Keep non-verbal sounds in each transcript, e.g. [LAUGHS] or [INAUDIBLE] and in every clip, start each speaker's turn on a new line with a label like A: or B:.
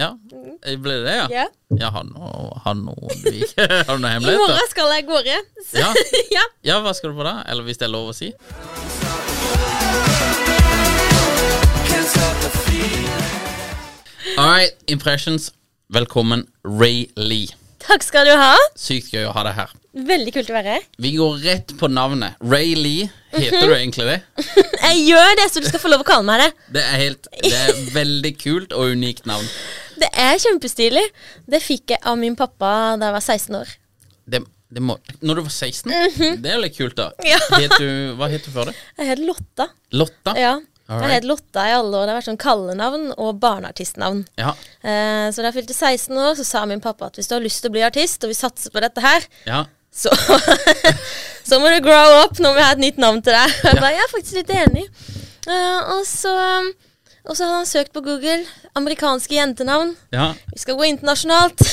A: Ja, ble det det, Mm. ja?
B: Ja.
A: Ja, har noe, har noe, vi- [LAUGHS] har noe
B: I morgen
A: hemmeligheter?
B: skal jeg av gårde. Så-
A: Ja.
B: [LAUGHS] ja.
A: Ja, hva skal du på da? Eller hvis det er lov å si? All right, Impressions. Velkommen, Ray Lee.
B: Takk skal du ha.
A: Sykt gøy å ha deg her.
B: Veldig kult å være her.
A: Vi går rett på navnet. Ray Lee. Heter du egentlig det?
B: Jeg gjør det, så du skal få lov å kalle meg det.
A: Det er, helt, det er veldig kult og unikt navn.
B: Det er kjempestilig. Det fikk jeg av min pappa da jeg var 16 år.
A: Det, det må, når du var 16? Det er litt kult, da.
B: Ja.
A: Het du, hva het du før det?
B: Jeg het Lotta.
A: Lotta?
B: Ja.
A: Alright.
B: Jeg het Lotta i alle år. Det har vært sånn kallenavn og barneartistnavn.
A: Ja.
B: Eh, så da jeg fylte 16 år, så sa min pappa at hvis du har lyst til å bli artist, og vi satser på dette her,
A: ja.
B: så, [LAUGHS] så må du grow up. Nå må jeg ha et nytt navn til deg. Jeg, bare, jeg er faktisk litt enig. Eh, og, så, og så hadde han søkt på Google. Amerikanske jentenavn.
A: ja.
B: Vi skal gå
A: [LAUGHS]
B: internasjonalt.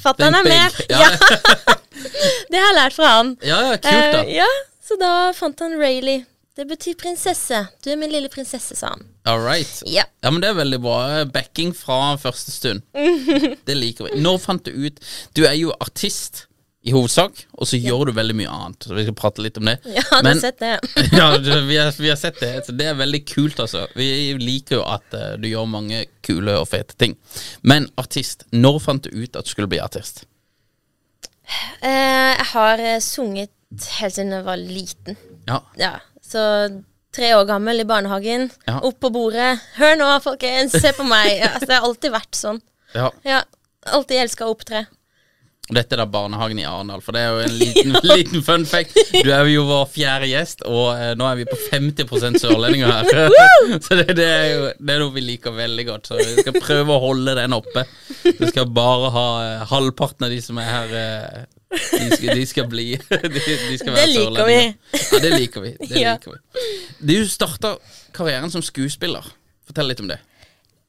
B: Fatter'n er
A: Think
B: med.
A: big.
B: Ja.
A: Ja.
B: Det har jeg lært fra han.
A: Ja, ja, kult da.
B: Eh, [LAUGHS] ja, så da fant han Rayleigh. Det betyr prinsesse. Du er min lille prinsesse, sa han.
A: All right.
B: Ja.
A: Ja, men det er veldig bra. Backing fra første
B: [LAUGHS]
A: stund. Det liker vi. Når fant du ut Du er jo artist i hovedsak, og så gjør du veldig mye annet. Så vi skal prate litt om det.
B: Ja, du har sett det.
A: [LAUGHS] ja, du, vi, har, vi har sett det. Så det er veldig kult, altså. Vi liker jo at eh, du gjør mange kule og fete ting. Men artist, når fant du ut at du skulle bli artist?
B: Eh, jeg har eh, sunget helt siden jeg var liten.
A: Ja.
B: Ja, så tre år gammel i barnehagen.
A: Ja.
B: Opp på bordet. Hør nå, folkens, se på meg. Ja, altså, det har alltid vært sånn.
A: ja.
B: Ja, Alltid elska å opptre.
A: Og Dette er da barnehagen i Arendal, for det er jo en liten, [LAUGHS] liten fun fact. Du er jo vår fjerde gjest, og eh, nå er vi på 50 sørlendinger
B: [LAUGHS]
A: her. [LAUGHS] så det, det er jo det er noe vi liker veldig godt, så vi skal prøve å holde den oppe. Du skal bare ha eh, halvparten av de som er her. eh, de skal, de skal bli [LAUGHS] de, de skal være
B: Det liker
A: sørlendinger. Ja, det liker vi. Det
B: [LAUGHS] Ja.
A: liker vi. Du starta karrieren som skuespiller. Fortell litt om det.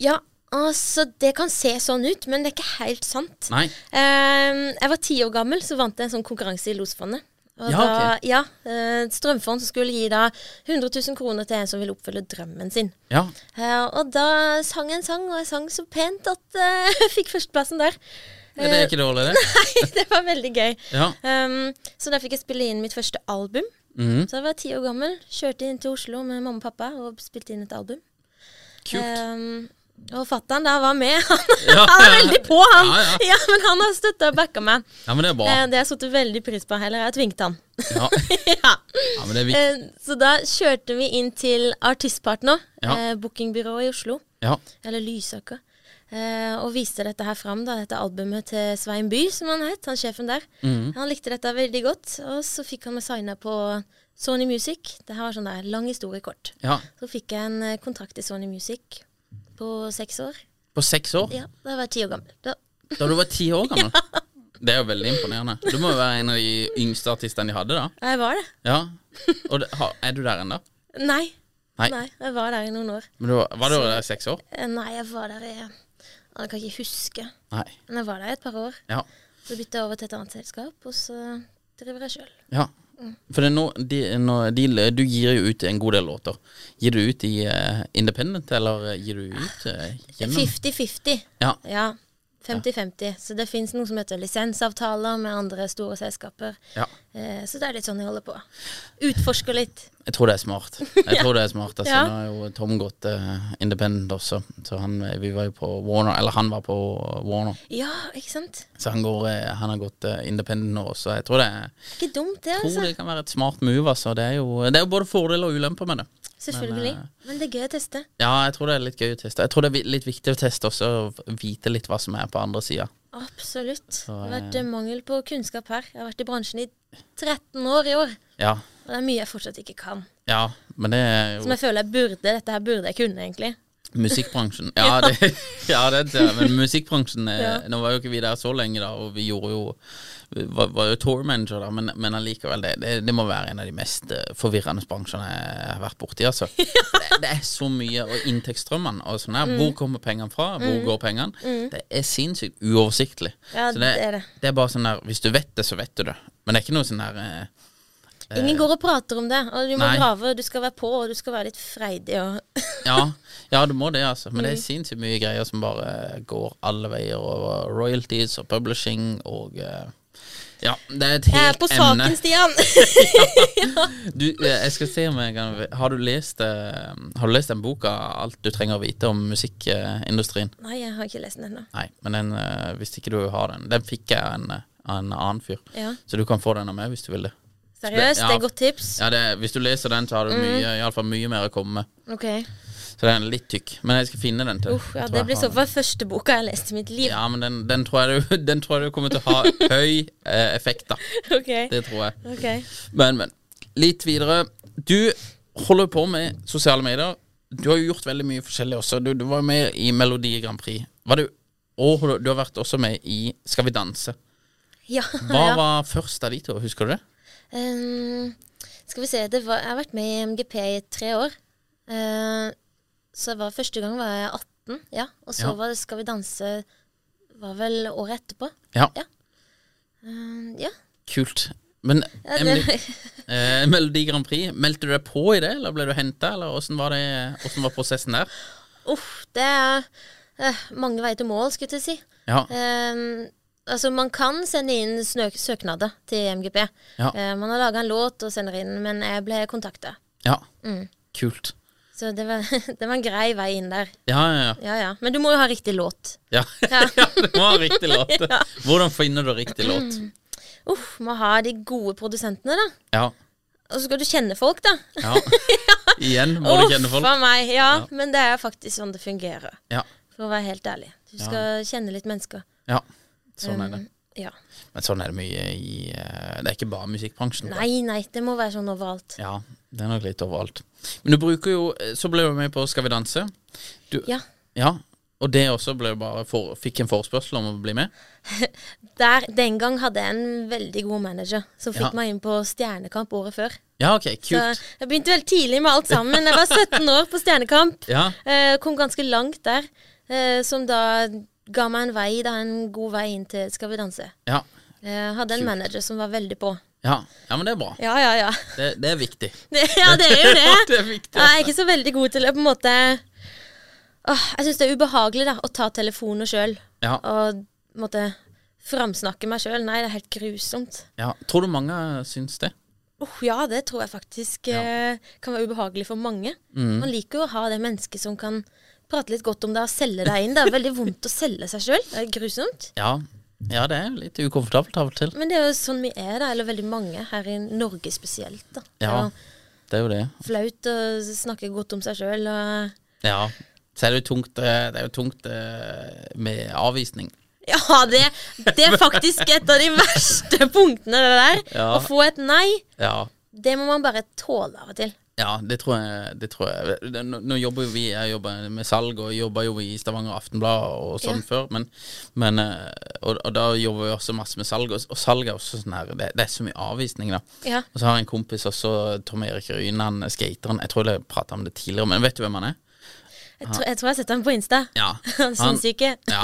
B: Ja, altså, det kan se sånn ut, men det er ikke helt sant.
A: Nei?
B: Eh, jeg var ti år gammel, så vant jeg en sånn konkurranse i Losfondet. Og
A: Ja,
B: da,
A: ok.
B: ja, eh, Strømfond som skulle gi da 100 000 kroner til en som ville oppfylle drømmen sin.
A: Ja.
B: Eh, og da sang jeg en sang, og jeg sang så pent at eh, [LAUGHS] jeg fikk førsteplassen der.
A: Det er ikke dårlig, det.
B: Eh, [LAUGHS] Nei, det var veldig gøy.
A: Ja.
B: Um, så da fikk jeg spille inn mitt første album.
A: Mhm.
B: Så jeg var ti år gammel. Kjørte inn til Oslo med mamma og pappa og spilte inn et album.
A: Kult.
B: Um, og fatter'n der var med. [LAUGHS] Han,
A: Ja.
B: han er veldig på, han!
A: Ja,
B: Ja,
A: ja.
B: Men han har støtta og backa meg.
A: Ja, men det er bra.
B: Eh, det har jeg satt veldig pris på. Heller jeg tvingte han. [LAUGHS]
A: Ja,
B: ja.
A: [LAUGHS] ja men det er viktig.
B: Eh, så da kjørte vi inn til Artistpartner,
A: Ja.
B: eh, bookingbyrået i Oslo.
A: Ja.
B: Eller Lysaker. Eh, og viste dette her fram, da, dette albumet til Svein By, som han het, han sjefen der. Han likte dette veldig godt, og så fikk han meg signa på Sony Music. Det her var sånn der lang historie kort.
A: Ja.
B: Så fikk jeg en eh, kontrakt i Sony Music på seks år.
A: På seks år?
B: Ja, Da var jeg ti år gammel. Da.
A: Da du var ti år gammel? Det er jo veldig imponerende. Du må jo være en av de yngste artistene de hadde, da.
B: Jeg var det.
A: Ja. Og det, har- er du der ennå?
B: Nei.
A: Nei.
B: Nei, jeg var der i noen år.
A: Men du, var- var du der i seks år?
B: Eh, Nei, jeg var der i ah, Jeg kan ikke huske.
A: Nei.
B: Men jeg var der i et par år.
A: Ja.
B: Så bytta jeg over til et annet selskap, og så driver jeg sjøl.
A: ja. For det er nå, de, nå de, du gir jo ut en god del låter. Gir du ut i eh, Independent, eller eh, gir du ut eh, hjemme?
B: 50-50.
A: Ja.
B: Ja. 50-50. Så det fins noe som heter lisensavtaler med andre store selskaper.
A: ja.
B: Eh, så det er litt sånn jeg holder på. Utforsker litt.
A: Jeg tror det er smart. Jeg tror det er smart altså,
B: [LAUGHS] Ja.
A: Nå er jo Tom gått eh, independent også, så han, eh, vi var jo på Warner, eller han var på Warner.
B: Ja, ikke sant?
A: Så han, går, eh, han har gått eh, independent nå også. Jeg tror det, er-
B: Ikke dumt, det,
A: tror
B: altså.
A: det kan være et smart move. Altså. Det, er jo, det er jo både fordeler og ulemper med det.
B: Selvfølgelig.
A: Men, eh,
B: Men det er gøy å teste.
A: Ja, jeg tror det er litt gøy å teste. Jeg tror det er vi- litt viktig å teste også, å vite litt hva som er på andre sida.
B: Absolutt. Det har
A: eh,
B: vært eh, mangel på kunnskap her. Jeg har vært i bransjen i 13 år i år.
A: Ja.
B: Og det er mye jeg fortsatt ikke kan.
A: ja, men det er
B: Som
A: jo
B: jeg føler jeg burde. Dette her burde jeg kunne, egentlig.
A: musikkbransjen. Ja, det, [LAUGHS] ja det, ser jeg. men musikkbransjen eh, Nå var jo ikke vi der så lenge, da, og vi gjorde jo vi var, var jo tour manager, da, men, men allikevel, det, det, det må være en av de mest eh, forvirrende bransjene jeg har vært borti.
B: [LAUGHS]
A: Altså. Det, det er så mye, og inntektsstrømmene og sånn
B: Mm.
A: her. Hvor kommer pengene fra? Hvor går pengene? Det er sinnssykt uoversiktlig.
B: Ja,
A: så
B: det er det.
A: det er bare sånn der Hvis du vet det, så vet du det. Men det er ikke noe sånn der eh,
B: Ingen går og prater om det. Og du må
A: Nei.
B: grave, og du skal være på, og du skal være litt freidig. Og
A: Ja, ja, du må det, altså. Men
B: Mm.
A: det er sinnssykt mye greier som bare eh, går alle veier over royalties og publishing og eh, Ja, det er et
B: jeg er
A: helt
B: på
A: emne.
B: saken, Stian!
A: [LAUGHS]
B: [LAUGHS]
A: Du, eh, jeg skal se om jeg kan Har du lest, eh, har du lest den boka 'Alt du trenger å vite om musikkindustrien'?
B: Nei, jeg har ikke lest den ennå.
A: Nei, men den, eh, hvis ikke du har den Den fikk jeg av en, eh, av en annen fyr.
B: Ja.
A: Så du kan få den av meg hvis du vil det.
B: Seriøst,
A: Ja.
B: det er godt tips.
A: Ja, det, Hvis du leser den, så har du
B: Mm.
A: mye, i alle fall mye mer å komme med.
B: Ok.
A: Så den er litt tykk. Men jeg skal finne den til deg.
B: Uff, ja,
A: Jeg tror
B: det
A: jeg
B: blir
A: har
B: så
A: den.
B: fall første boka jeg har lest i mitt liv.
A: Ja, men den, den, tror jeg du, [LAUGHS] den tror jeg du kommer til å ha høy eh, effekt, da.
B: [LAUGHS] Ok.
A: Det tror jeg.
B: ok.
A: Men, men. Litt videre. Du holder på med sosiale medier. Du har jo gjort veldig mye forskjellig også. Du, du var med i Melodi Grand Prix. Var du, og du har vært også med i Skal vi danse.
B: Ja.
A: Hva
B: [LAUGHS] ja.
A: var først av de to? Husker du det?
B: Ehm, skal vi se det var, Jeg har vært med i MGP i tre år. Eh, så jeg var, første gang var jeg 18, ja. Og så
A: Ja.
B: var det Skal vi danse var vel året etterpå.
A: Ja.
B: Ja. Ehm, ja.
A: Kult. Men
B: ja
A: Emily,
B: det,
A: eh, Melodi Grand Prix, meldte du deg på i det, eller ble du henta, eller åssen var, det- hvordan var prosessen der?
B: uff, det er eh, mange veier til mål, skulle jeg til å si.
A: Ja.
B: Ehm, altså, man kan sende inn snø søknader til MGP.
A: Ja.
B: Eh, man har laga en låt og sender inn, men jeg ble kontakta.
A: ja.
B: eh, mm.
A: Kult.
B: Så det var, [LAUGHS] det var en grei vei inn der.
A: Ja, ja, ja.
B: Ja, ja. Men du må jo ha riktig låt.
A: Ja,
B: [LAUGHS]
A: [LAUGHS] ja. det må ha riktig låt. Hvordan finner du riktig låt?
B: Mm. Uff, må ha de gode produsentene, da.
A: Ja.
B: Og så skal du kjenne folk, da.
A: ja.
B: [LAUGHS]
A: Igjen må du kjenne folk.
B: Uff a meg. Ja, men det er faktisk sånn det fungerer.
A: Ja.
B: For å være helt ærlig. Du skal kjenne litt mennesker.
A: ja. Sånn er det.
B: Ja.
A: Men sånn er det mye i eh, Det er ikke bare musikkbransjen. da.
B: Nei, nei, det må være sånn overalt.
A: Ja, det er nok litt overalt. Men du bruker jo eh, Så ble du med på Skal vi danse. Du,
B: Ja.
A: ja. Og det også ble bare for, fikk en forespørsel om å bli med.
B: Der, den gang hadde jeg en veldig god manager som fikk
A: Ja.
B: meg inn på Stjernekamp året før.
A: Ja, ok,
B: Så
A: kult.
B: jeg begynte veldig tidlig med alt sammen. Jeg var 17 år på Stjernekamp.
A: Ja.
B: Eh, kom ganske langt der. Eh, som da ga meg en vei, da, en god vei inn til Skal vi danse.
A: Ja.
B: Eh, hadde en manager som var veldig på.
A: ja. Ja, men det er bra.
B: Ja, ja, ja.
A: Det, det er viktig.
B: [LAUGHS] Det, ja, det er jo
A: [LAUGHS]
B: det.
A: Det er viktig.
B: Jeg er ikke så veldig god til å på en måte Åh, Jeg syns det er ubehagelig da, å ta telefonen sjøl
A: Ja.
B: og på en måte framsnakke meg sjøl. Nei, det er helt grusomt.
A: Ja. Tror du mange syns det?
B: Åh, ja, det tror jeg faktisk eh, kan være ubehagelig for mange.
A: Mm.
B: Man liker jo å ha det mennesket som kan prate litt godt om deg og selge deg inn. Det er veldig vondt å selge seg sjøl. Det er grusomt.
A: Ja. ja, det er jo litt ukomfortabelt av og til.
B: Men det er jo sånn vi er, da. Eller veldig mange her i Norge spesielt. da. Det er
A: Ja,
B: jo
A: det er jo det.
B: Flaut å snakke godt om seg sjøl.
A: Ja. Så er det jo tungt, eh, det er jo tungt eh, med avvisning.
B: [LAUGHS] Ja, det, det er faktisk et av de verste punktene, det der.
A: Ja.
B: Å få et nei,
A: Ja.
B: det må man bare tåle av og til.
A: Ja, det tror jeg. Det tror jeg. Det- Nå, nå jobber jo vi jeg jobber med salg, og jobber jo i Stavanger Aftenblad og sånn før. Men, men eh, og, og da jobber vi også masse med salg, og, og salg er også sånn her det, det er så mye avvisning, da.
B: Ja.
A: Og så har jeg en kompis også, Tom Erik Ryen, han er skateren. Jeg tror jeg prata om det tidligere, men vet du hvem han er?
B: Jeg, tror, jeg tror jeg har sett ham på Insta.
A: Ja.
B: [LAUGHS] Han sinnssyke.
A: Ja,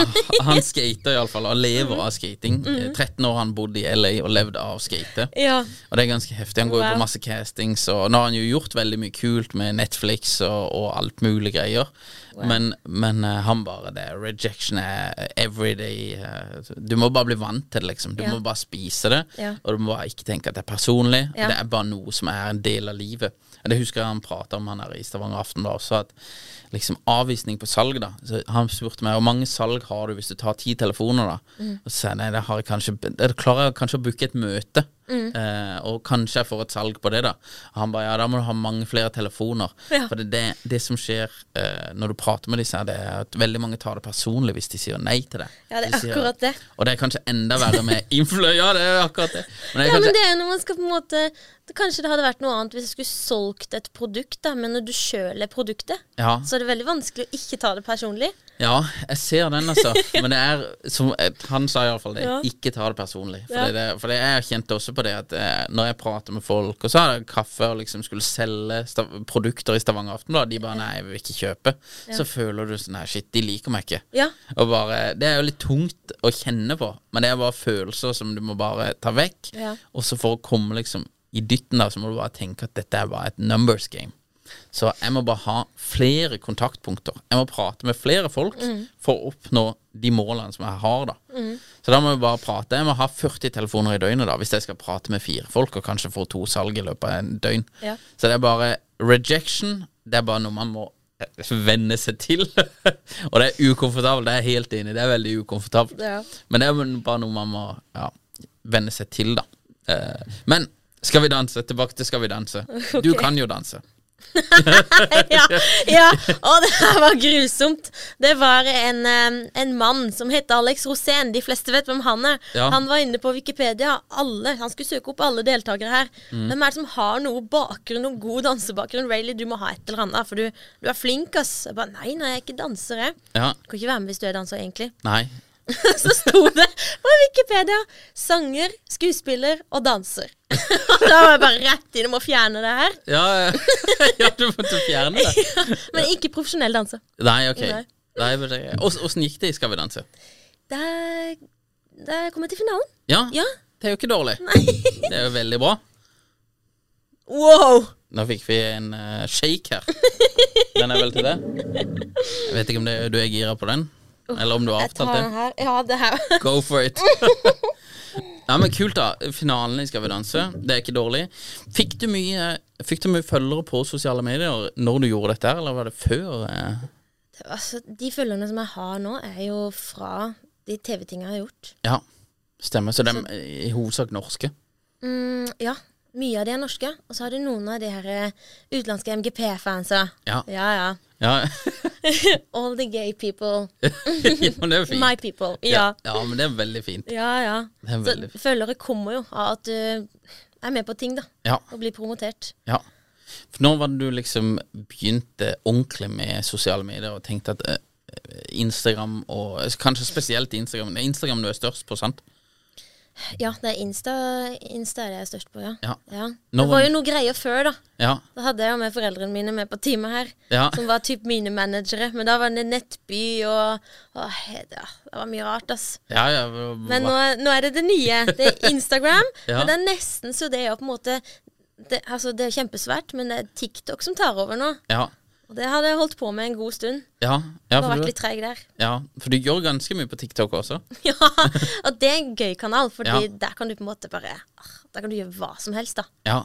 A: han skater iallfall, og lever av skating. Eh, 13 år han bodde i LA og levde av å skate.
B: Mm-hmm. Ja.
A: Og det er ganske heftig. Han går jo
B: Wow.
A: på masse castings, og nå har han jo gjort veldig mye kult med Netflix og, og alt mulig greier. Men, men eh, han bare det Rejection er everyday. eh, du må bare bli vant til det, liksom. Du
B: Ja.
A: må bare spise det,
B: Ja.
A: og du må bare ikke tenke at det er personlig.
B: Ja.
A: Det er bare noe som er en del av livet. Det husker jeg han prata om han her i Stavanger Aftenblad også, at liksom avvisning på salg, da. Så han spurte meg hvor mange salg har du hvis du tar ti telefoner, da.
B: Mm.
A: Og så sa jeg nei, det har jeg kanskje Da klarer jeg kanskje å booke et møte,
B: Mm.
A: eh, og kanskje jeg får et salg på det, da. Og han bare ja, da må du ha mange flere telefoner.
B: Ja.
A: For det, det, det som skjer eh, når du prater med disse, her, det er at veldig mange tar det personlig hvis de sier nei til det.
B: Ja, det er
A: De sier-
B: akkurat det.
A: Og det er kanskje enda
B: [LAUGHS]
A: verre med influ... Ja, det er akkurat det. Men det er
B: Ja, men
A: kanskje-
B: det er jo når man skal på en måte det, Kanskje det hadde vært noe annet hvis jeg skulle solgt et produkt, da, men når du sjøl er produktet,
A: Ja.
B: så er det veldig vanskelig å ikke ta det personlig.
A: Ja, jeg ser
B: [LAUGHS]
A: den, altså. Men det er, som eh, han sa iallfall, det
B: Ja.
A: ikke ta det personlig. For,
B: Ja.
A: det, for det, jeg kjente også på det at eh, når jeg prater med folk, og så hadde jeg kaffe og liksom skulle selge stav produkter i Stavanger Aftenblad, de bare 'nei, jeg vil ikke kjøpe', så føler du sånn 'nei, shit, de liker meg ikke'.
B: Ja.
A: Og bare, Det er jo litt tungt å kjenne på, men det er bare følelser som du må bare ta vekk.
B: Ja.
A: Og så for å komme liksom i dytten, da, så må du bare tenke at dette er bare et numbers game. Så jeg må bare ha flere kontaktpunkter. Jeg må prate med flere folk
B: Mm.
A: for å oppnå de målene som jeg har, da. Så da må jeg bare prate. Jeg må ha 40 telefoner i døgnet da, hvis jeg skal prate med fire folk, og kanskje få to salg i løpet av en døgn.
B: Ja.
A: Så det er bare rejection. Det er bare noe man må eh, venne seg til. [LAUGHS] og det er ukomfortabelt, det er jeg helt enig i. Det er veldig ukomfortabelt.
B: Ja.
A: Men det er vel bare noe man må ja, venne seg til, da. Eh, men Skal vi danse? Tilbake til Skal
B: [LAUGHS]
A: vi danse. Du kan jo danse.
B: ja, [LAUGHS] ja. Og det her var grusomt. Det var en, eh, en mann som het Alex Rosén. De fleste vet hvem han er.
A: Ja.
B: Han var inne på Wikipedia. Alle, han skulle søke opp alle deltakere her.
A: Mm.
B: Hvem er det som har noe bakgrunn og god dansebakgrunn? Rayleigh, du må ha et eller annet, for du, du er flink, ass. Jeg bare, nei, nei, jeg er ikke danser, jeg.
A: Ja.
B: Kan ikke være med hvis du er danser, egentlig.
A: Nei.
B: [LAUGHS] Så sto det på Wikipedia sanger, skuespiller og danser. [LAUGHS] Og da var jeg bare rett inn om å fjerne det her.
A: Ja, [LAUGHS] eh, ja du måtte
B: [LAUGHS]
A: fjerne det.
B: Men ikke profesjonell danser.
A: Nei, ok.
B: Nei.
A: Nei, men det- Ås- Åssen gikk det i Skal vi danse?
B: Der, der kom jeg til finalen.
A: Ja,
B: Ja.
A: det er jo ikke dårlig. [LAUGHS] Det er jo veldig bra.
B: Wow!
A: Nå fikk vi en eh, shake
B: [LAUGHS]
A: her. Den er vel til deg? Jeg vet ikke om det, du er gira på den, eller om du har
B: Jeg tar
A: avtalt det.
B: den her. Ja, det her. [LAUGHS]
A: Go for it. Nei, men Kult, da. Finalen i Skal vi danse. Det er ikke dårlig. Fikk du mye, fikk du mye følgere på sosiale medier når du gjorde dette, her, eller var det før? eh?
B: Altså, de følgerne som jeg har nå, er jo fra de TV-tinga jeg har gjort.
A: Ja, stemmer. Så de er i hovedsak norske.
B: Mm, ja. Mye av de er norske, og så har du noen av de her eh, utenlandske MGP-fansa.
A: Ja.
B: ja, ja.
A: Ja, [LAUGHS]
B: All the gay people.
A: ja men det er fint.
B: My people. Ja,
A: ja, men det er veldig fint.
B: ja. ja.
A: Det er veldig
B: Så følgere kommer jo av at du er med på ting, da.
A: Ja.
B: Og blir promotert.
A: ja. For når var det du liksom begynte ordentlig med sosiale medier og tenkte at eh, Instagram og altså, Kanskje spesielt Instagram. Det er Instagram du er størst på, sant?
B: Ja, det er Insta, Insta er det jeg er størst på, ja.
A: Ja. Nå
B: Det
A: var-
B: var jo noe greier før, da.
A: Ja.
B: Da hadde jeg jo med foreldrene mine med på teamet her,
A: Ja.
B: som var typ mine managere. Men da var det Nettby og, og he- ja, Det var mye rart, ass.
A: Ja, ja,
B: Men
A: hva-
B: nå, nå er det det nye. Det
A: [LAUGHS]
B: er Instagram.
A: Ja.
B: Men det er nesten så det er jo på en måte det, altså det er kjempesvært, men det er TikTok som tar over nå.
A: Ja.
B: Og det hadde jeg holdt på med en god stund.
A: Ja, ja,
B: Og
A: for du,
B: vært litt treig der.
A: ja, for du gjør ganske mye på TikTok også.
B: [LAUGHS] Ja, Og det er en gøy kanal, Fordi
A: Ja.
B: der kan du på en måte bare ah, Der kan du gjøre hva som helst, da.
A: Ja.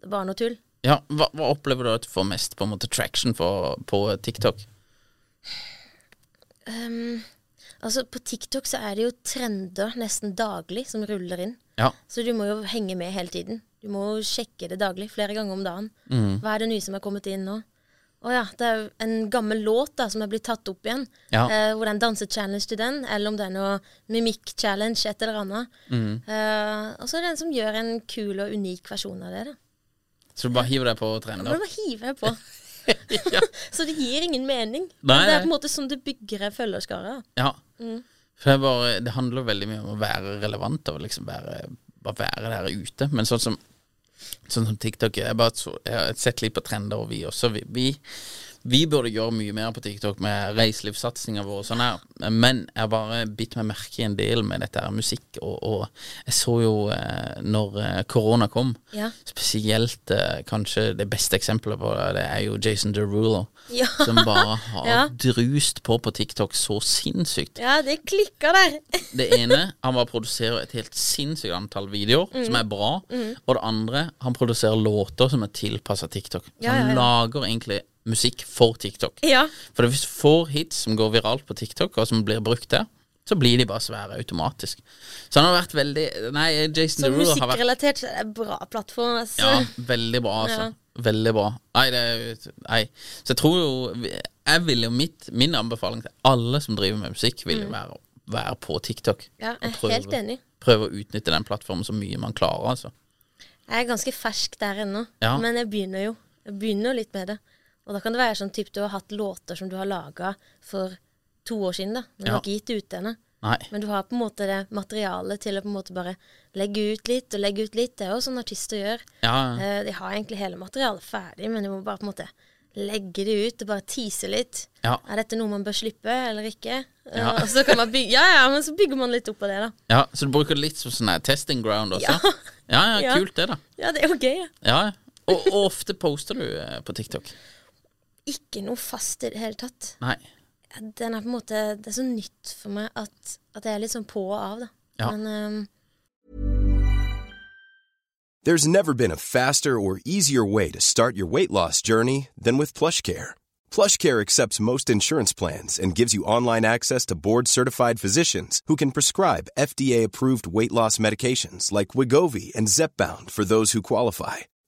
B: Det er bare noe tull.
A: ja hva, hva opplever du at du får mest på en måte traction for, på TikTok?
B: Altså På TikTok så er det jo trender nesten daglig som ruller inn.
A: Ja.
B: Så du må jo henge med hele tiden. Du må jo sjekke det daglig, flere ganger om dagen.
A: Mm.
B: Hva er det nye som er kommet inn nå? Å ja, det er en gammel låt da, som er blitt tatt opp igjen.
A: Ja.
B: Eh, hvor det er en dansechallenge til den, eller om det er noe mimikk-challenge, et
A: Mm.
B: eller annet. Eh, og så er det en som gjør en kul og unik versjon av det. da.
A: Så du bare hiver deg på og trener?
B: Men
A: da?
B: da hiver jeg på.
A: ja.
B: Så det gir ingen mening.
A: Nei,
B: det
A: nei.
B: er på en måte sånn du bygger en følgerskare.
A: ja. For det, er bare, det handler veldig mye om å være relevant og liksom være, bare være der ute. Men sånn som, sånn som TikTok Jeg, bare så, jeg har sett litt på trender, og vi også. Vi, vi, vi burde gjøre mye mer på TikTok med reiselivssatsinga vår og sånn her. Men jeg har bare bitt meg merke i en del med dette her musikk, og, og jeg så jo eh, når eh, korona kom
B: Ja.
A: Spesielt eh, kanskje det beste eksempelet på det, det er jo Jason Derulo.
B: Ja.
A: Som bare har
B: [LAUGHS] Ja.
A: drust på på TikTok så sinnssykt.
B: Ja, det klikker der.
A: Det ene, han bare produserer et helt sinnssykt antall videoer
B: Mm.
A: som er bra. Og det andre, han produserer låter som er tilpassa TikTok. Så
B: Ja, ja,
A: han
B: ja.
A: lager egentlig musikk for TikTok.
B: [LAUGHS] Ja.
A: For hvis du får hits som går viralt på TikTok, og som blir brukt der, så blir de bare svære automatisk. Så han har vært veldig Nei, Jason
B: Så
A: Derulo har
B: Sånn
A: vært
B: musikkrelatert så er det en bra plattform. Altså.
A: ja, veldig bra, altså. Veldig bra. Nei, det er jo Nei. Så jeg tror jo Jeg vil jo mitt Min anbefaling til alle som driver med musikk, vil jo være å være på TikTok.
B: Mm. Ja, jeg er
A: Og prøve-
B: helt enig.
A: Prøve å utnytte den plattformen så mye man klarer, altså.
B: Jeg er ganske fersk der ennå,
A: Ja.
B: men jeg begynner jo Jeg begynner jo litt med det. Og da kan det være sånn typ du har hatt låter som du har laga for to år siden, da. Men du
A: Ja.
B: har ikke gitt det ut ennå.
A: Nei.
B: Men du har på en måte det materialet til å på en måte bare legge ut litt og legge ut litt. Det er jo sånn artister gjør.
A: Ja,
B: Eh, De har egentlig hele materialet ferdig, men de må bare på en måte legge det ut og bare tease litt.
A: Ja.
B: Er dette noe man bør slippe eller ikke? Eh,
A: Ja.
B: Og så kan man bygge, ja, ja, men så bygger man litt opp på det, da.
A: ja. Så du bruker det litt som sånn her testing ground også?
B: Ja.
A: ja, ja
B: Ja.
A: kult det, da.
B: [LAUGHS] Ja, det er jo gøy. Ja.
A: Ja, ja. Og, og ofte poster du eh, på TikTok?
B: Ikke noe fast i det hele tatt.
A: Nei.
B: Den er på en måte, Det er så nytt for meg at, at jeg er litt sånn på og av, da.
A: Ja.
B: Men ehm,
C: There's never been a faster or easier way to start your weight loss journey than with PlushCare. PlushCare accepts most insurance plans and gives you online access to board-certified physicians who can prescribe FDA-approved weight loss medications like Wigovi and Zepbound for those who qualify.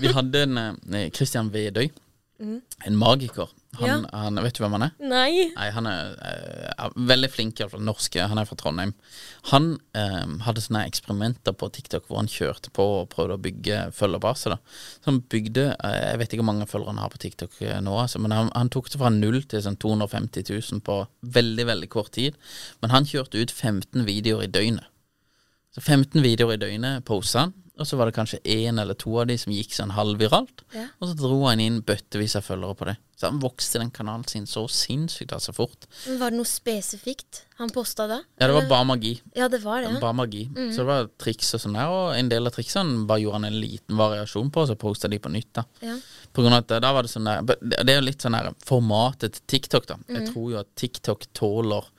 A: Vi hadde en eh, Christian Vedøy,
B: Mm.
A: en magiker. Han, han, vet du hvem han er?
B: Nei!
A: Nei, han er, eh, er veldig flink, iallfall norsk. Han er fra Trondheim. Han eh, hadde sånne eksperimenter på TikTok hvor han kjørte på og prøvde å bygge følgerbase. da. Så han bygde eh, Jeg vet ikke hvor mange følgere han har på TikTok eh, nå, altså, men han, han tok det fra null til sånn 250 000 på veldig, veldig kort tid. Men han kjørte ut 15 videoer i døgnet. Så 15 videoer i døgnet posa han. Og så var det kanskje én eller to av de som gikk sånn halvviralt. Og så dro han inn bøttevis av følgere på det. Så han vokste den kanalen sin så sinnssykt altså fort.
B: Men var det noe spesifikt han posta da?
A: Ja, det var
B: Eller-
A: bare magi.
B: Ja, det var det. ja. Mm.
A: Bare magi. Så det var triks og sånn der, og en del av triksene bare gjorde han en liten variasjon på, og så posta de på nytt. da.
B: Ja.
A: På grunn av at da var det sånn der, but det er jo litt sånn der formatet til TikTok, da. Jeg
B: Mm.
A: tror jo at TikTok tåler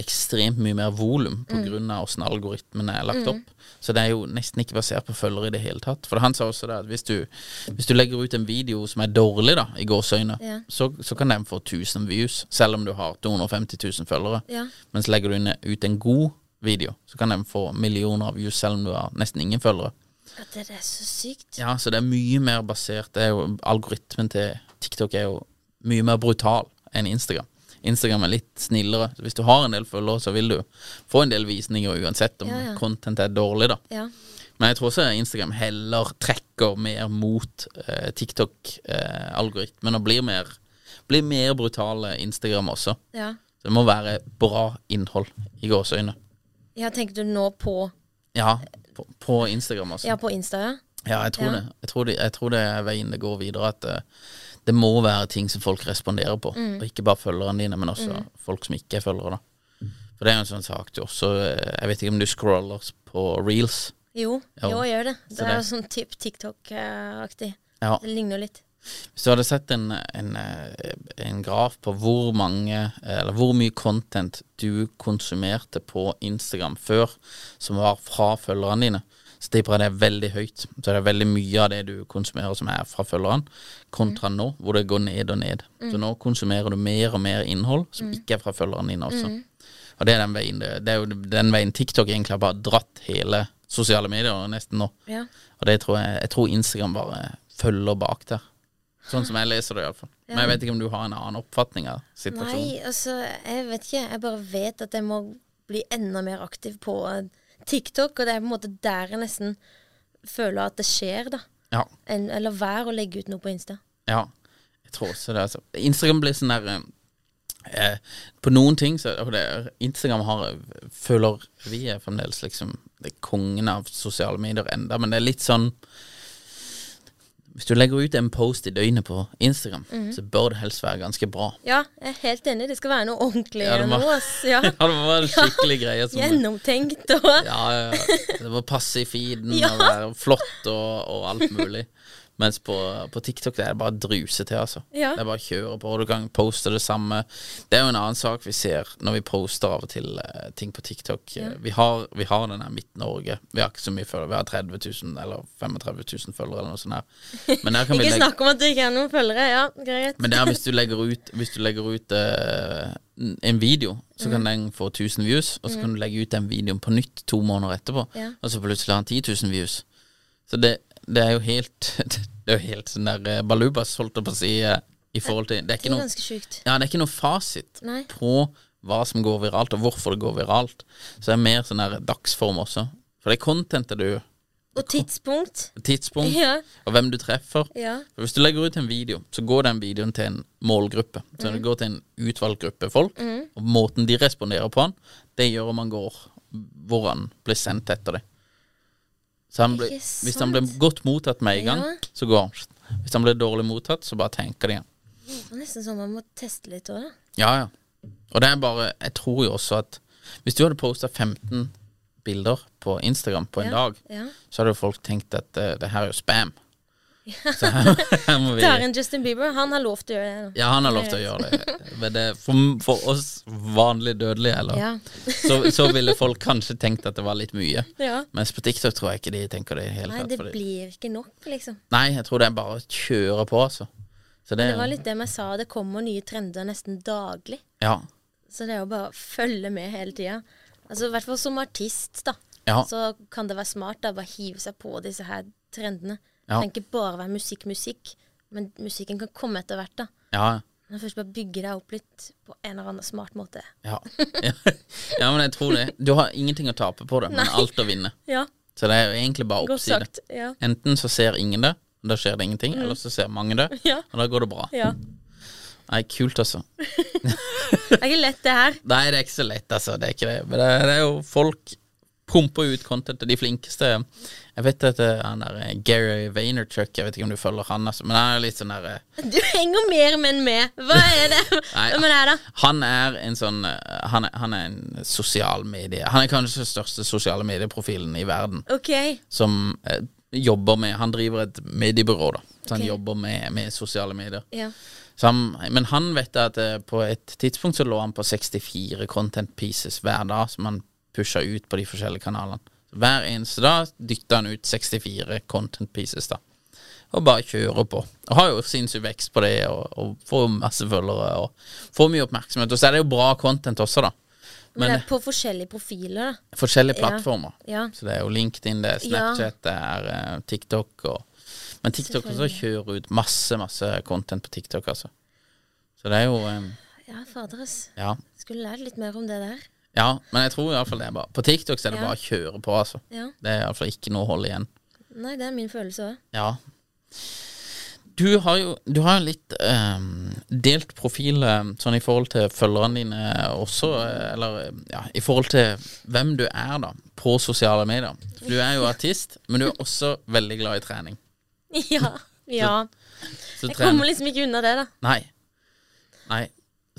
A: ekstremt mye mer volum
B: Mm.
A: pga. av åssen algoritmen er lagt opp. Så det er jo nesten ikke basert på følgere i det hele tatt. For han sa også det at hvis du, hvis du legger ut en video som er dårlig, da, i gåseøyne,
B: Ja.
A: så, så kan den få 1000 views, selv om du har 250 000 følgere.
B: Ja.
A: Mens legger du inn- ut en god video, så kan den få millioner av views, selv om du har nesten ingen følgere.
B: Ja, det er så sykt.
A: Ja, så det er mye mer basert det er jo, Algoritmen til TikTok er jo mye mer brutal enn Instagram. Instagram er litt snillere. Så hvis du har en del følgere, så vil du få en del visninger uansett om
B: Ja, ja.
A: content er dårlig, da.
B: Ja.
A: Men jeg tror også Instagram heller trekker mer mot eh, TikTok-algoritmen og blir mer, blir mer brutale Instagram også.
B: ja.
A: Så det må være bra innhold i gåseøyne.
B: Ja, tenker du nå på
A: Ja, på, på Instagram også.
B: Ja, på Insta, ja?
A: Ja, jeg tror
B: Ja.
A: det. Jeg tror, det, jeg tror det er veien det går videre. At eh, det må
B: Mm.
A: være ting som folk responderer på. Og ikke bare følgerne dine, men også folk som ikke er følgere. da. For For det er jo en sånn sak du også eh, Jeg vet ikke om du scroller på reels.
B: Jo,
A: Jo.
B: jo, gjør det. Det
A: Så
B: er jo
A: det-
B: sånn typ TikTok-aktig.
A: Ja.
B: Det ligner jo litt.
A: Hvis du hadde sett en, en, eh, en graf på hvor mange eh, Eller hvor mye content du konsumerte på Instagram før, som var fra følgerne dine, så tipper jeg det er veldig høyt. Så det er veldig mye av det du konsumerer som er fra følgeren, kontra nå, hvor det går ned og ned. Så nå konsumerer du mer og mer innhold som ikke er fra følgerne dine også. Og det er, den veien, det, det er jo den veien TikTok egentlig har bare dratt hele sosiale medier nesten nå.
B: Ja.
A: Og det tror jeg, jeg tror Instagram bare følger bak der. Sånn som jeg leser det, iallfall. Men jeg vet ikke om du har en annen oppfatning av situasjonen.
B: Nei, altså, jeg vet ikke. Jeg bare vet at jeg må bli enda mer aktiv på eh, TikTok, og det er på en måte der jeg nesten føler at det skjer, da.
A: Ja,
B: Enn å la være å legge ut noe på Insta.
A: ja. Jeg tror også det. Altså. Instagram blir sånn der eh, eh, På noen ting så og det, er- Instagram har, føler vi er fremdeles liksom det er kongen av sosiale medier enda, men det er litt sånn Hvis du legger ut en post i døgnet på Instagram, så bør det helst være ganske bra. [LAUGHS]
B: Ja, jeg er helt enig. Det skal være noe ordentlig
A: Ja, det må-
B: nå, ass. Ja.
A: [LAUGHS] Ja, det må være en skikkelig greie. som-
B: Gjennomtenkt og
A: Ja, ja, ja. Det må passe i feeden
B: Ja.
A: og være flott og, og alt mulig. Mens på, på TikTok det er det bare å druse til, altså.
B: Ja.
A: Det er bare å kjøre på, og du kan poste det samme. Det er jo en annen sak vi ser når vi poster av og til eh, ting på TikTok. Eh, Vi, har, vi har den her Midt-Norge. Vi har ikke så mye følgere. Vi har 30 000 eller 35 000 følgere eller noe sånt her. Men der kan vi
B: Ikke
A: legge
B: snakk om at du ikke har noen følgere. Ja, greit.
A: men det er hvis du legger ut, hvis du legger ut eh, en video,
B: Mm.
A: så kan den få 1000 views, og så kan du legge ut den videoen på nytt to måneder etterpå,
B: Ja.
A: og så plutselig har den 10 000 views. Så det, det er jo helt [LAUGHS] Det er jo helt sånn der eh, balubas, holdt jeg på å si, eh, i forhold til Det er
B: [LAUGHS] det
A: ikke
B: er
A: noe,
B: ganske sjukt.
A: ja, det er ikke noe fasit
B: Nei.
A: på hva som går viralt, og hvorfor det går viralt. Så det er mer sånn der dagsform også. For det er contentet du
B: Og tidspunkt.
A: Tidspunkt,
B: Ja.
A: og hvem du treffer.
B: Ja.
A: For Hvis du legger ut en video, så går den videoen til en målgruppe. Så
B: Mm.
A: Det går til en utvalgt gruppe folk, og måten de responderer på den, det gjør om han går hvor han blir sendt etter det. Så han blir,
B: Ikke
A: hvis han blir
B: sant?
A: godt mottatt med en gang,
B: Ja.
A: så går han. Hvis han blir dårlig mottatt, så bare tenker de igjen.
B: Det er nesten sånn man må teste litt òg, da.
A: Ja, ja. Og det er bare Jeg tror jo også at hvis du hadde posta 15 bilder på Instagram på en dag,
B: ja.
A: så hadde jo folk tenkt at eh, det her er jo spam. Så her, her må vi
B: Det er en Justin Bieber. Han har lov til å gjøre det. nå.
A: Ja, han har lov til å gjøre
B: [LAUGHS]
A: det. Men det for, for oss vanlige dødelige, eller
B: Ja.
A: så, så ville folk kanskje tenkt at det var litt mye.
B: Ja.
A: Mens på TikTok tror jeg ikke de tenker det i det hele
B: Nei,
A: tatt.
B: det
A: fordi-
B: blir ikke nok, liksom.
A: Nei, jeg tror det er bare å kjøre på, altså. Så det,
B: Det var litt det vi sa, det kommer nye trender nesten daglig.
A: Ja.
B: Så det er jo bare å følge med hele tida. Altså, I hvert fall som artist, da.
A: Ja.
B: Så kan det være smart da, bare hive seg på disse her trendene.
A: Ja.
B: Trenger ikke bare være musikk, musikk, men musikken kan komme etter hvert, da.
A: ja.
B: Men først bare bygge deg opp litt på en eller annen smart måte.
A: Ja. [LAUGHS] ja. Ja, men jeg tror det. Du har ingenting å tape på det, men alt å vinne.
B: Ja,
A: Så det er jo egentlig bare
B: godt
A: oppside.
B: sagt. Ja.
A: Enten så ser ingen det, og da skjer det ingenting, eller så ser mange det,
B: Ja.
A: og da går det bra.
B: ja.
A: Nei, kult, altså.
B: Det er ikke lett, det her.
A: Nei, det er ikke så lett, altså. Det er ikke det. Men det, det er jo folk pumper ut content, og de flinkeste Jeg vet at eh, han der eh, Gary Vaynerchuk, jeg vet ikke om du følger han, altså, men han er litt sånn der eh,
B: Du henger mer menn med. Hva er det?
A: [LAUGHS] Nei,
B: Hvem er det, her, da?
A: Han er en sånn eh, Han er, han er en sosial medie Han er kanskje den største sosiale medieprofilen i verden,
B: OK.
A: som eh, jobber med Han driver et mediebyrå, da. Så han
B: Ok.
A: jobber med, med sosiale medier.
B: Ja.
A: Så han, men han vet at eh, på et tidspunkt så lå han på 64 content pieces hver dag som han pusha ut på de forskjellige kanalene. Hver eneste dag dytta han ut 64 content pieces, da. Og bare kjører på. Og har jo sinnssyk vekst på det, og, og får masse følgere og får mye oppmerksomhet. Og så er det jo bra content også, da.
B: Men det
A: Men
B: er på forskjellige profiler, da.
A: forskjellige
B: Ja.
A: plattformer.
B: Ja.
A: Så det er jo LinkedIn, det er Snapchat, det er eh, TikTok og Men TikTok også kjører ut masse, masse content på TikTok, altså. Så det er jo eh,
B: Ja, fader, ass.
A: Ja.
B: Skulle lært litt mer om det der.
A: ja. Men jeg tror iallfall det er bare På TikTok så er det
B: Ja.
A: bare å kjøre på, altså.
B: Ja.
A: Det er iallfall ikke noe å holde igjen.
B: Nei, det er min følelse òg.
A: Ja. Du har jo du har jo litt eh, delt profil eh, sånn i forhold til følgerne dine også, eh, eller eh, ja, i forhold til hvem du er da, på sosiale medier. Du er jo artist, men du er også veldig glad i trening.
B: [LAUGHS] Ja. ja.
A: Så
B: Jeg
A: tren-
B: kommer liksom ikke unna det, da.
A: Nei. Nei.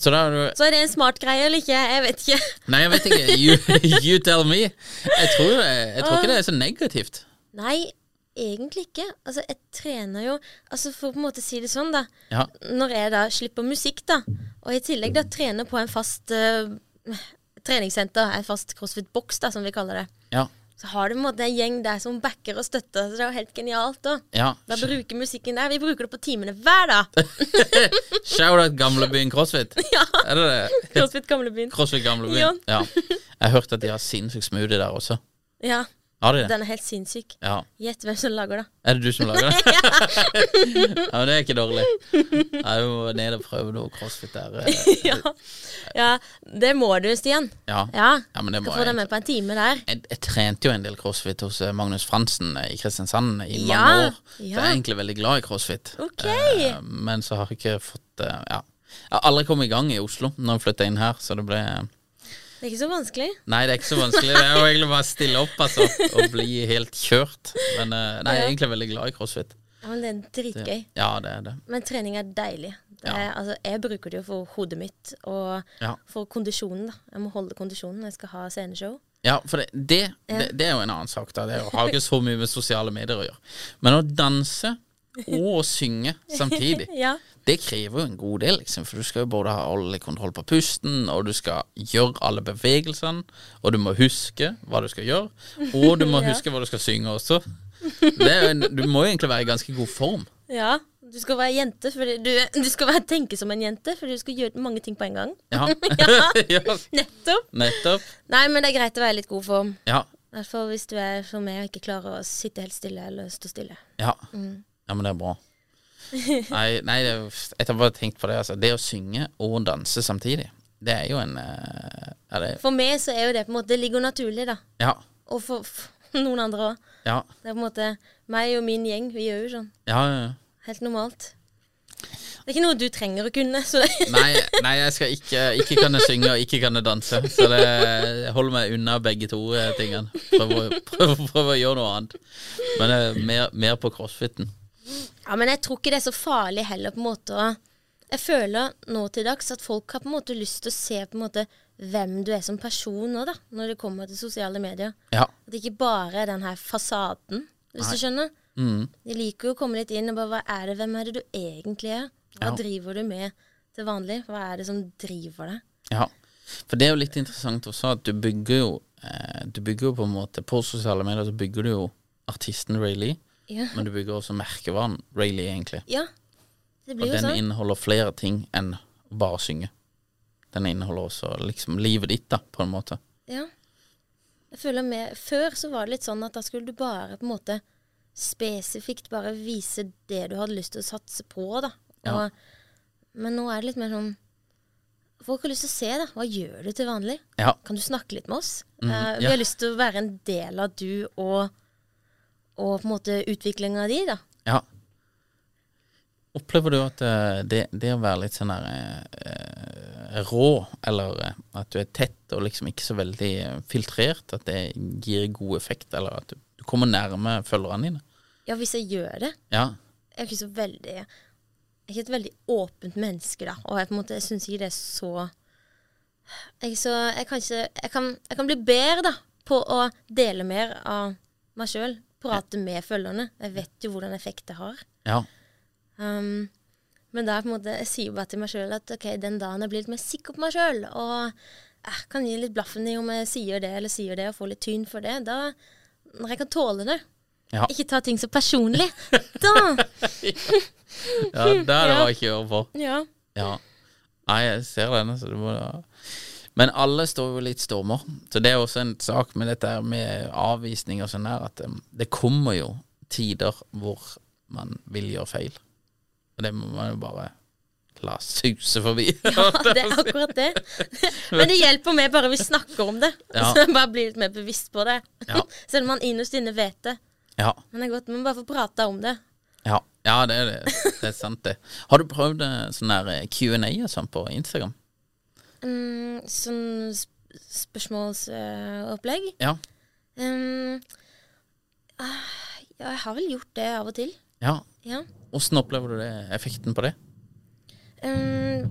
A: Så da har du
B: Så er det en smart greie eller ikke? Jeg vet ikke.
A: Nei, jeg vet ikke. You, you tell me. Jeg tror, eh, jeg tror ikke det er så negativt.
B: [LAUGHS] Nei, egentlig ikke. Altså, jeg trener jo Altså, for å på en måte si det sånn, da.
A: Ja.
B: Når jeg da slipper musikk, da, og i tillegg da trener på en fast eh, [SNIFFS] treningssenter, en fast crossfit-boks, da, som vi kaller det,
A: Ja.
B: så har du på en måte en gjeng der som backer og støtter, så det er jo helt genialt, da.
A: ja.
B: Da bruker musikken der. Vi bruker det på timene hver
A: [LAUGHS]
B: dag.
A: Shout-out Gamlebyen CrossFit.
B: Ja.
A: Er det det?
B: Crossfit Gamlebyen.
A: CrossFit
B: Ja.
A: Gamlebyen. Ja. Jeg har hørt at de har sinnssykt smoothie der også.
B: Ja.
A: Har de det?
B: Den er helt sinnssyk.
A: Ja.
B: Gjett hvem som lager
A: [LAUGHS]
B: det.
A: Er det du som lager det?
B: [LAUGHS]
A: ja, men det er ikke dårlig. Jeg må ned og prøve noe CrossFit der. eh.
B: ja. ja. Det må du, Stian.
A: Ja.
B: [LAUGHS] Ja.
A: Ja, men det må
B: Skal få
A: jeg
B: deg med på en time der.
A: jeg, jeg trente jo en del crossfit hos eh, Magnus Fransen eh, i Kristiansand i
B: Ja,
A: mange år. Så
B: ja.
A: jeg er egentlig veldig glad i crossfit.
B: Ok.
A: Eh, men så har jeg ikke fått eh, Ja. Jeg har aldri kommet i gang i Oslo når jeg flytta inn her, så det ble
B: Det er ikke så vanskelig.
A: Nei, det er ikke så vanskelig. Det er jo egentlig bare å stille opp altså, og bli helt kjørt. Men eh, nei, jeg er egentlig veldig glad i crossfit.
B: Ja, men det er dritgøy.
A: Ja, det er det.
B: Men trening er deilig. Det
A: Ja.
B: er, altså, jeg bruker det jo for hodet mitt og
A: Ja.
B: for kondisjonen. da. Jeg må holde kondisjonen når jeg skal ha sceneshow.
A: Ja, for det, det, det, det er jo en annen sak. da Det er jo- har ikke så mye med sosiale medier å gjøre. Men å danse og synge samtidig,
B: Ja.
A: det krever jo en god del. liksom For du skal jo både ha all kontroll på pusten, og du skal gjøre alle bevegelsene, og du må huske hva du skal gjøre, og du må huske hva du skal synge også. Det er jo en, du må jo egentlig være i ganske god form.
B: Ja. Du skal være jente, fordi du, du skal være, tenke som en jente, for du skal gjøre mange ting på en gang.
A: Ja, [LAUGHS] Ja,
B: Nettopp.
A: nettopp.
B: Nei, men det er greit å være i litt god form.
A: Ja,
B: I hvert fall hvis du er som meg og ikke klarer å sitte helt stille eller stå stille.
A: Ja. ja, men det er bra. Nei, nei det, er- jeg har bare tenkt på det. Altså. Det å synge og danse samtidig, det er jo en eh, er det,
B: For meg så er jo det på en måte Det ligger jo naturlig, da.
A: Ja.
B: Og for, for noen andre òg.
A: Ja.
B: Det er på en måte meg og min gjeng. Vi gjør jo sånn.
A: ja, ja, ja.
B: Helt normalt. Det er ikke noe du trenger å kunne. Så det,
A: Nei, nei, jeg skal ikke Ikke kan jeg synge, og ikke kan jeg danse. Så det, jeg holder meg unna begge to eh, tingene. Prøver, prøver, prøver å [LAUGHS] gjøre noe annet. Men eh, mer, mer på crossfiten.
B: ja, men jeg tror ikke det er så farlig heller, på en måte. å- Jeg føler nå til dags at folk har på en måte lyst til å se på en måte hvem du er som person nå, da. Når det kommer til sosiale medier.
A: Ja.
B: At det ikke bare er den her fasaden, hvis du skjønner.
A: Mm.
B: De liker jo å komme litt inn og bare Hva er det, hvem er det du egentlig er? Hva
A: Ja.
B: driver du med til vanlig? Hva er det som driver deg?
A: Ja, for det er jo litt interessant også at du bygger jo eh, Du bygger jo på en måte På sosiale medier så bygger du jo artisten Ray Lee,
B: Ja.
A: men du bygger også merkevaren Ray Lee, egentlig.
B: Ja, det
A: Og
B: blir jo
A: den
B: sånn.
A: inneholder flere ting enn å bare synge. Den inneholder også liksom livet ditt, da, på en måte.
B: Ja. Jeg føler med, Før så var det litt sånn at da skulle du bare på en måte spesifikt bare vise det du hadde lyst til å satse på. da. Og,
A: Ja.
B: Men nå er det litt mer sånn Folk har lyst til å se, da. Hva gjør du til vanlig?
A: Ja.
B: Kan du snakke litt med oss? Eh, vi
A: ja.
B: har lyst til å være en del av du og, og på en måte utviklinga di, da.
A: ja. Opplever du at eh, det, det å være litt sånn der eh, eh, rå, eller eh, at du er tett og liksom ikke så veldig eh, filtrert, at det gir god effekt, eller at du, du kommer nærme følgerne dine?
B: Ja, hvis jeg gjør det
A: Ja.
B: Jeg er ikke så veldig Jeg er ikke et veldig åpent menneske, da. Og jeg på en måte, jeg syns ikke det er så Jeg, er så, jeg, kan, ikke, jeg, kan, jeg kan bli bedre da, på å dele mer av meg sjøl. Prate med følgerne. Jeg vet jo hvordan effekt det har.
A: Ja.
B: Um, men da er på en måte, jeg sier bare til meg sjøl at ok, den dagen jeg blir litt mer sikker på meg sjøl, og jeg kan gi litt blaffen i om jeg sier det eller sier det, og får litt tyn for det, da Når jeg kan tåle det,
A: Ja.
B: ikke ta ting så
A: [LAUGHS]
B: personlig, da
A: ja det er det
B: Ja.
A: bare ikke å gjøre på.
B: Ja.
A: Ja. Nei, jeg ser den. Altså, du må da. Men alle står jo litt stormer. Så det er også en sak med dette her med avvisning og sånn der, at um, det kommer jo tider hvor man vil gjøre feil. Og det må man jo bare la suse forbi.
B: Ja,
A: [LAUGHS]
B: det er akkurat det. Men det hjelper meg bare vi snakker om det.
A: Ja.
B: Så jeg bare blir litt mer bevisst på det.
A: Ja.
B: [LAUGHS] Selv om man innerst inne vet det.
A: ja,
B: Men det er godt man bare får prata om det.
A: ja. ja, det er det. Det er sant, det. Har du prøvd eh, sånn der eh, Q&A og sånn på Instagram?
B: Mm, sånn sp spørsmålsopplegg.
A: Ja.
B: Um, ah, ja, jeg har vel gjort det av og til.
A: ja.
B: Ja. Ehm,
A: Åssen opplever du det, effekten på det?
B: Um,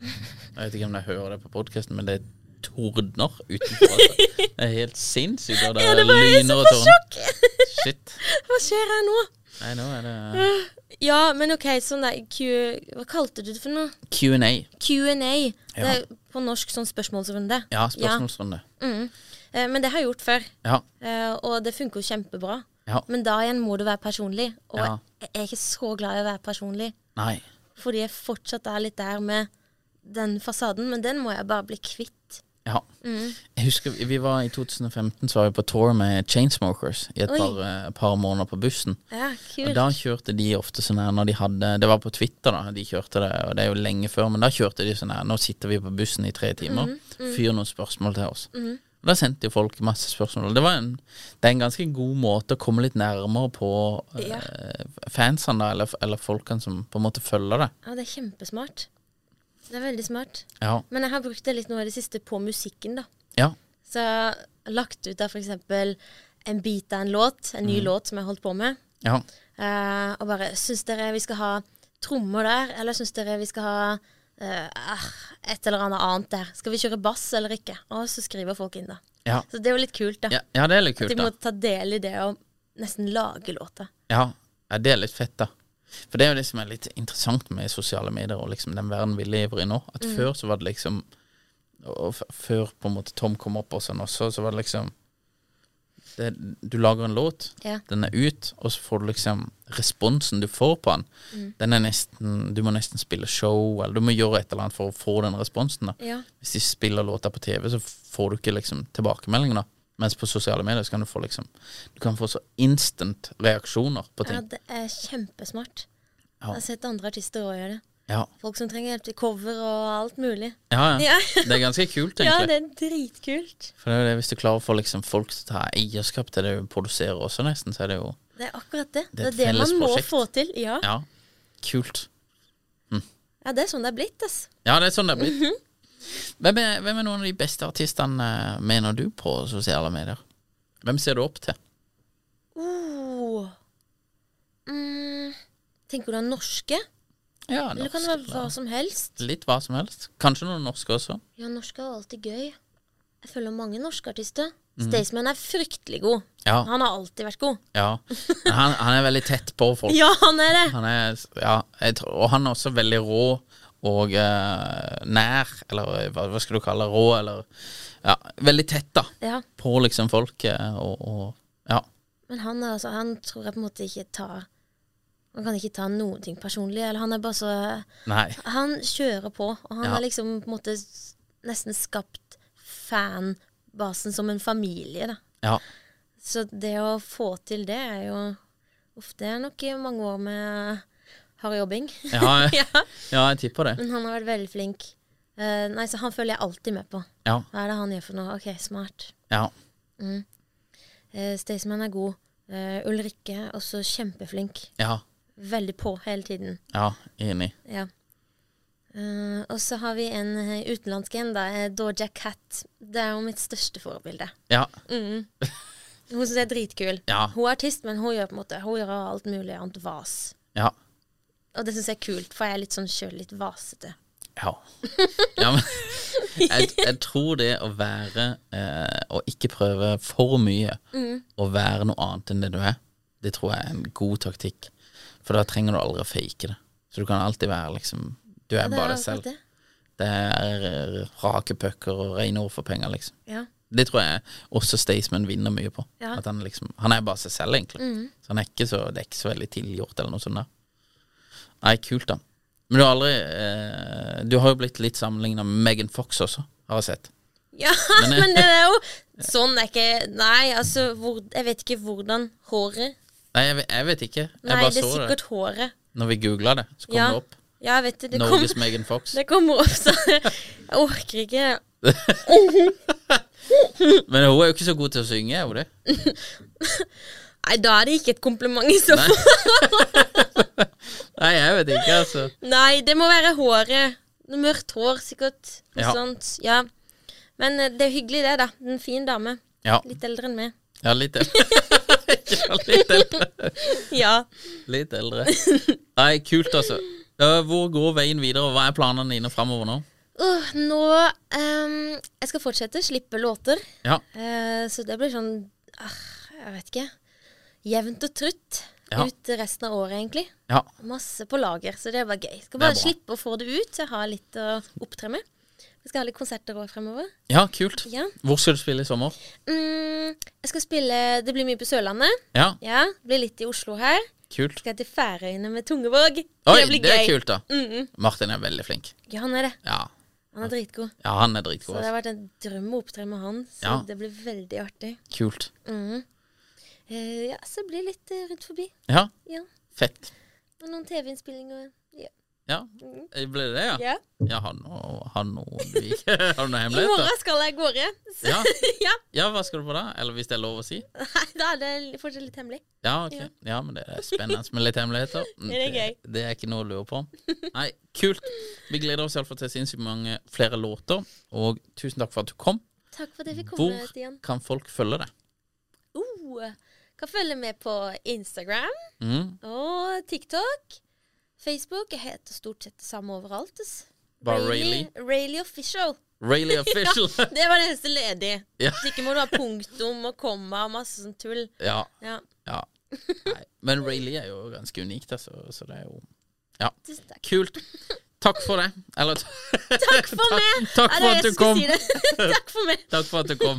A: Jeg vet ikke om de hører det på podkasten, men det tordner utenfor. Altså. Det er helt sinnssykt. Og det
B: Ja,
A: er
B: det var jeg
A: lyner
B: som
A: og
B: får
A: torden.
B: sjokk! [LAUGHS]
A: Shit.
B: Hva skjer her nå?
A: Nei, nå er det
B: Ja, men OK, sånn der Q... Hva kalte du det for noe?
A: Q&A.
B: Q&A. Det
A: Ja.
B: er på norsk sånn spørsmålsrunde.
A: Ja, spørsmålsrunde.
B: Eh, Men det har jeg gjort før,
A: Ja.
B: eh, og det funker jo kjempebra.
A: Ja.
B: Men da igjen må du være personlig, og
A: Ja.
B: jeg er ikke så glad i å være personlig.
A: Nei.
B: Fordi jeg fortsatt er litt der med den fasaden, men den må jeg bare bli kvitt.
A: Ja.
B: Mm.
A: Jeg husker vi- vi var i 2015, så var vi på tour med Chainsmokers i et
B: Oi.
A: par, eh, par måneder på bussen.
B: Ja,
A: Og
B: kult.
A: da kjørte de ofte sånn her når de hadde Det var på Twitter, da. De kjørte det, og det er jo lenge før, men da kjørte de sånn her Nå sitter vi på bussen i tre timer,
B: Mhm,
A: fyr noen spørsmål til oss. Og Da sendte jo folk masse spørsmål. Det, var en, det er en ganske god måte å komme litt nærmere på eh,
B: Ja.
A: fansene, da, eller, eller folkene som på en måte følger det.
B: Ja, det er kjempesmart. Det er veldig smart.
A: Ja.
B: Men jeg har brukt det litt nå i det siste på musikken, da.
A: ja.
B: Så jeg har lagt ut av f.eks. en bit av en låt, en ny
A: Mhm.
B: låt som jeg har holdt på med.
A: Ja.
B: eh, og bare Syns dere vi skal ha trommer der, eller syns dere vi skal ha eh, ah, et eller annet annet der? Skal vi kjøre bass eller ikke? Og så skriver folk inn, da.
A: Ja.
B: Så det er jo litt kult, da.
A: Ja, ja, det er litt
B: At
A: kult,
B: de
A: da.
B: må ta del i det og nesten lage låter.
A: Ja, ja, det er litt fett, da. For det er jo det som er litt interessant med sosiale medier og liksom den verden vi lever i nå. At
B: Mm.
A: før så var det liksom og- og f- Før på en måte Tom kom opp og sånn også, så var det liksom det, Du lager en låt,
B: Ja.
A: den er ut, og så får du liksom responsen du får på den.
B: Mm.
A: Den er nesten Du må nesten spille show, eller du må gjøre et eller annet for å få den responsen. da
B: Ja.
A: Hvis de spiller låter på TV, så får du ikke liksom tilbakemeldinger. da Mens på sosiale medier så kan du få liksom Du kan få så instant reaksjoner på ting.
B: ja, det er kjempesmart.
A: Ja.
B: Jeg har sett andre artister òg gjøre det.
A: Ja,
B: Folk som trenger hjelp til cover og alt mulig.
A: ja. ja.
B: Ja.
A: Det er ganske kult,
B: [LAUGHS]
A: egentlig.
B: Ja, det er dritkult.
A: For det er jo det, Hvis du klarer å få liksom folk til å ta eierskap til det du produserer også, nesten, så er det jo
B: Det er akkurat det.
A: Det
B: Det
A: er
B: er
A: et
B: det, man må
A: fellesprosjekt.
B: få til. Ja. ja.
A: Ja, kult.
B: det er sånn det er blitt, ass.
A: Ja, det er sånn det er
B: Mhm.
A: blitt. Hvem er, hvem er noen av de beste artistene, eh, mener du, på sosiale medier? Hvem ser du opp til?
B: Oh. Mm. Tenker du av norske?
A: Ja,
B: Eller kan det være hva som helst?
A: Litt hva som helst. Kanskje noen norske også.
B: Ja, norske er alltid gøy. Jeg følger mange norske artister. Staysman er fryktelig god.
A: Mhm. Ja.
B: Han har alltid vært god.
A: Ja. Men han, han er veldig tett på folk.
B: Ja, han er det!
A: Han er, ja, jeg tror, og han er også veldig rå og eh, nær, eller hva, hva skal du kalle det, rå, eller Ja, veldig tett, da,
B: Ja.
A: på liksom folket, og, og ja.
B: Men han, er, altså, han tror jeg på en måte ikke tar Han kan ikke ta noen ting personlig. Eller han er bare så
A: Nei.
B: Han kjører på, og han
A: Ja.
B: har liksom på en måte s- nesten skapt fanbasen som en familie, da.
A: Ja.
B: Så det å få til det er jo Uff, det er nok i mange år med hard jobbing.
A: Ja, jeg,
B: [LAUGHS] ja.
A: ja, jeg tipper det.
B: Men han har vært veldig flink. Eh, nei, så han følger jeg alltid med på.
A: Ja.
B: Hva er det han gjør for noe? OK, smart.
A: ja.
B: Uh, Staysman er god. Eh, Ulrikke er også kjempeflink.
A: Ja.
B: Veldig på hele tiden.
A: Ja, enig.
B: Ja. Eh, og så har vi en eh, utenlandsk en, da. eh, Doja Cat. Det er jo mitt største forbilde.
A: Ja.
B: Hun syns jeg er dritkul.
A: Ja.
B: Hun er artist, men hun gjør på en måte Hun gjør alt mulig annet vas.
A: Ja.
B: Og det syns jeg er kult, for jeg er litt sånn sjøl litt vasete.
A: Ja. ja men, [LAUGHS] jeg, jeg tror det å være eh, Å ikke prøve for mye,
B: Mm.
A: å være noe annet enn det du er, det tror jeg er en god taktikk. For da trenger du aldri å fake det. Så du kan alltid være liksom Du er
B: Ja, det er
A: bare deg selv.
B: akkurat det.
A: Det er eh, rake pucker og rene ord for penger, liksom.
B: Ja.
A: Det tror jeg også Staysman vinner mye på.
B: Ja. Mm.
A: At han liksom Han er bare seg selv, egentlig. Så han er ikke så, det er ikke så veldig tilgjort eller noe sånt der. Nei, kult, da. Men du har aldri eh, Du har jo blitt litt sammenligna med Megan Fox også, har jeg sett.
B: Ja, [LAUGHS] men,
A: eh,
B: det er
A: [LAUGHS]
B: jo Sånn er ikke Nei, altså hvor, Jeg vet ikke hvordan håret
A: Nei, jeg, ve- jeg vet ikke. Jeg
B: Nei,
A: bare
B: det er
A: så
B: sikkert håret.
A: det. Når vi googla det, så kom
B: ja.
A: det opp.
B: Ja, jeg vet det. Det,
A: Norges
B: kom,
A: Megan Fox.
B: det kommer opp, så [LAUGHS] jeg orker ikke.
A: Men hun er jo ikke så god til å synge, er hun det?
B: Nei, da er det ikke et kompliment i så fall.
A: Nei, jeg vet ikke, altså.
B: Nei, det må være håret. Noe Mørkt hår, sikkert. Noe
A: Ja.
B: sånt. Ja. Men eh, det er hyggelig, det, da. En fin dame.
A: Ja.
B: Litt eldre enn
A: [LAUGHS]
B: meg.
A: ja litt eldre. ja, litt eldre.
B: Ja.
A: Litt eldre. Nei, kult, altså. Ja, Hvor går veien videre, og hva er planene dine framover nå?
B: Uh, nå ehm, Jeg skal fortsette. Slippe låter.
A: Ja.
B: Eh, så det blir sånn ah, Jeg vet ikke. Jevnt og trutt
A: Ja.
B: ut resten av året, egentlig.
A: ja.
B: Masse på lager, så det er bare gøy. Skal
A: Det er
B: bare
A: bra.
B: slippe å få det ut, så jeg har litt å opptre med. Vi skal ha litt konserter òg fremover.
A: Ja, kult.
B: Ja.
A: Hvor skal du spille i sommer?
B: Mm, jeg skal spille Det blir mye på Sørlandet.
A: Ja,
B: Ja, det blir litt i Oslo her.
A: kult.
B: Skal til Færøyene med Tungevåg.
A: Oi,
B: blir
A: det er
B: gøy.
A: kult, da. Martin er veldig flink.
B: Ja, han er det.
A: Ja,
B: Han er dritgod.
A: ja han er
B: Så
A: dritgod.
B: det har
A: altså.
B: vært en drøm å opptre med han. Så
A: Ja.
B: det blir veldig artig. Mm-hmm.
A: Kult.
B: Eh, ja, så blir det litt eh, rundt forbi.
A: Ja,
B: Ja.
A: fett.
B: Og noen TV-innspillinger. Ja.
A: Ja, ble det det, ja?
B: Mm. ja.
A: Ja, har noe [LAUGHS] hemmelighet?
B: I
A: da?
B: morgen skal jeg av gårde. [LAUGHS] Så,
A: Ja.
B: ja.
A: ja, hva skal du på da? Eller hvis det er lov å si?
B: Nei, da er det fortsatt litt hemmelig.
A: Ja, ok. Ja, men det er spennende med litt hemmeligheter. Mm,
B: Det [LAUGHS] er gøy.
A: Det er ikke noe å lure på. Nei, kult. Vi gleder oss iallfall til sinnssykt mange flere låter, og tusen takk for at du kom.
B: Takk for at jeg fikk komme,
A: Hvor
B: Stian.
A: kan folk følge deg?
B: Oh, kan følge med på Instagram
A: Mm,
B: og TikTok. Facebook. Jeg heter stort sett det samme overalt. ass.
A: Bare
B: Rayleigh Official. [LAUGHS]
A: Rayleigh Official. [LAUGHS]
B: Ja, det var det eneste ledige.
A: Ja.
B: Så ikke må du ha punktum og komma og masse sånn tull.
A: ja. [LAUGHS]
B: Ja,
A: ja. Nei, men Rayleigh er jo ganske unikt, altså, så det er jo Ja.
B: tusen takk.
A: Kult. Takk for det. Eller
B: Takk for meg!
A: [LAUGHS] Takk
B: Ja, det
A: for
B: var jeg
A: at du
B: skulle
A: kom.
B: si det. [LAUGHS] takk for meg.
A: Takk for at du kom.